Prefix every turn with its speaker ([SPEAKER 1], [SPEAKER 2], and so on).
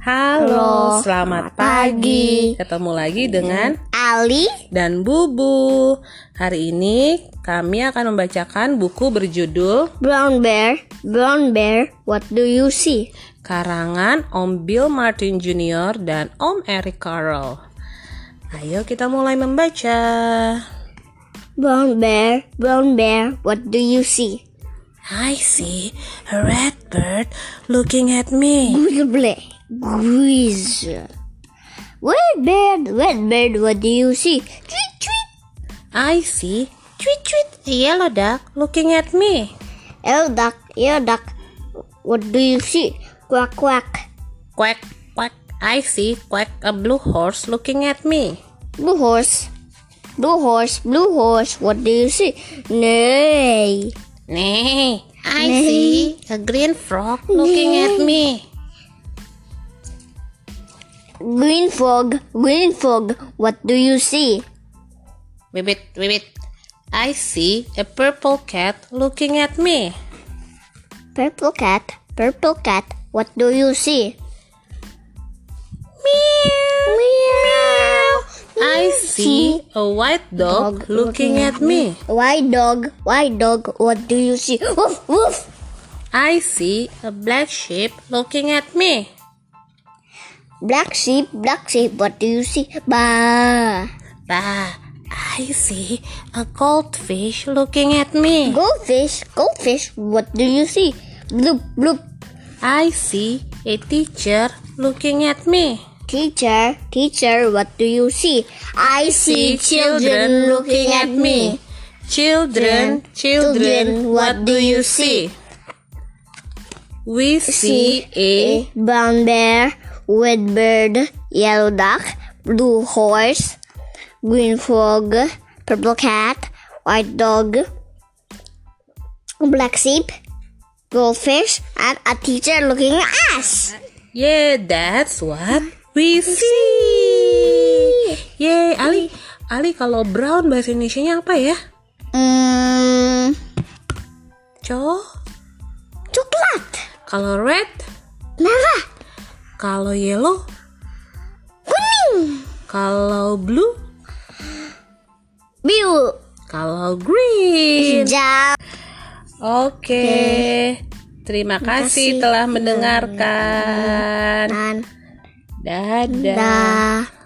[SPEAKER 1] Halo,
[SPEAKER 2] Halo,
[SPEAKER 1] selamat
[SPEAKER 2] selamat
[SPEAKER 1] pagi. Iya.
[SPEAKER 2] pagi.
[SPEAKER 1] Ketemu lagi dengan
[SPEAKER 2] Ali
[SPEAKER 1] dan Bubu. Hari ini kami akan membacakan buku berjudul
[SPEAKER 2] Brown Bear Brown Bear What do you see
[SPEAKER 1] Karangan Om Bill Martin Jr. dan Om Eric Carle. Ayo kita mulai membaca.
[SPEAKER 2] Brown Bear Brown Bear What do you see
[SPEAKER 1] I see a red bird looking at me.
[SPEAKER 2] Grizzly Grizz Red Bear Red Bear What do you see Tweet tweet
[SPEAKER 1] I see tweet tweet a yellow duck looking at me.
[SPEAKER 2] Yellow duck Yellow duck What do you see Quack quack
[SPEAKER 1] Quack quack. I see quack a blue horse looking at me.
[SPEAKER 2] Blue horse Blue horse Blue horse What do you see Neigh
[SPEAKER 1] Nay, I
[SPEAKER 2] Nay.
[SPEAKER 1] see a green frog looking at me.
[SPEAKER 2] Green frog Green frog What do you see
[SPEAKER 1] Wibbit, wibbit. I see a purple cat looking at me.
[SPEAKER 2] Purple cat, purple cat, what do you see? Meow, meow.
[SPEAKER 1] I Ah, see a white dog looking at me.
[SPEAKER 2] White dog, white dog, what do you see? Woof, woof.
[SPEAKER 1] I see a black sheep looking at me.
[SPEAKER 2] Black sheep, black sheep, what do you see? Bah.
[SPEAKER 1] Bah, I see a goldfish looking at me.
[SPEAKER 2] Goldfish, goldfish, what do you see? Bloop, bloop.
[SPEAKER 1] I see a teacher looking at me.
[SPEAKER 2] Teacher, teacher, what do you see? I see children looking at me.
[SPEAKER 1] Children, children, what do you see? We see a
[SPEAKER 2] brown bear, red bird, yellow duck, blue horse, green frog, purple cat, white dog, black sheep, goldfish, and a teacher looking at us.
[SPEAKER 1] yeah, that's what we see. Yeah, Ali, Ali kalau brown bahasa Indonesianya apa ya?
[SPEAKER 2] Mm,
[SPEAKER 1] Co.
[SPEAKER 2] coklat,
[SPEAKER 1] Kalau red,
[SPEAKER 2] merah,
[SPEAKER 1] kalau yellow,
[SPEAKER 2] kuning,
[SPEAKER 1] kalau blue,
[SPEAKER 2] biru,
[SPEAKER 1] kalau green.
[SPEAKER 2] hijau.
[SPEAKER 1] Oke. Terima kasih telah mendengarkan.
[SPEAKER 2] Dan
[SPEAKER 1] Dadah.
[SPEAKER 2] dah.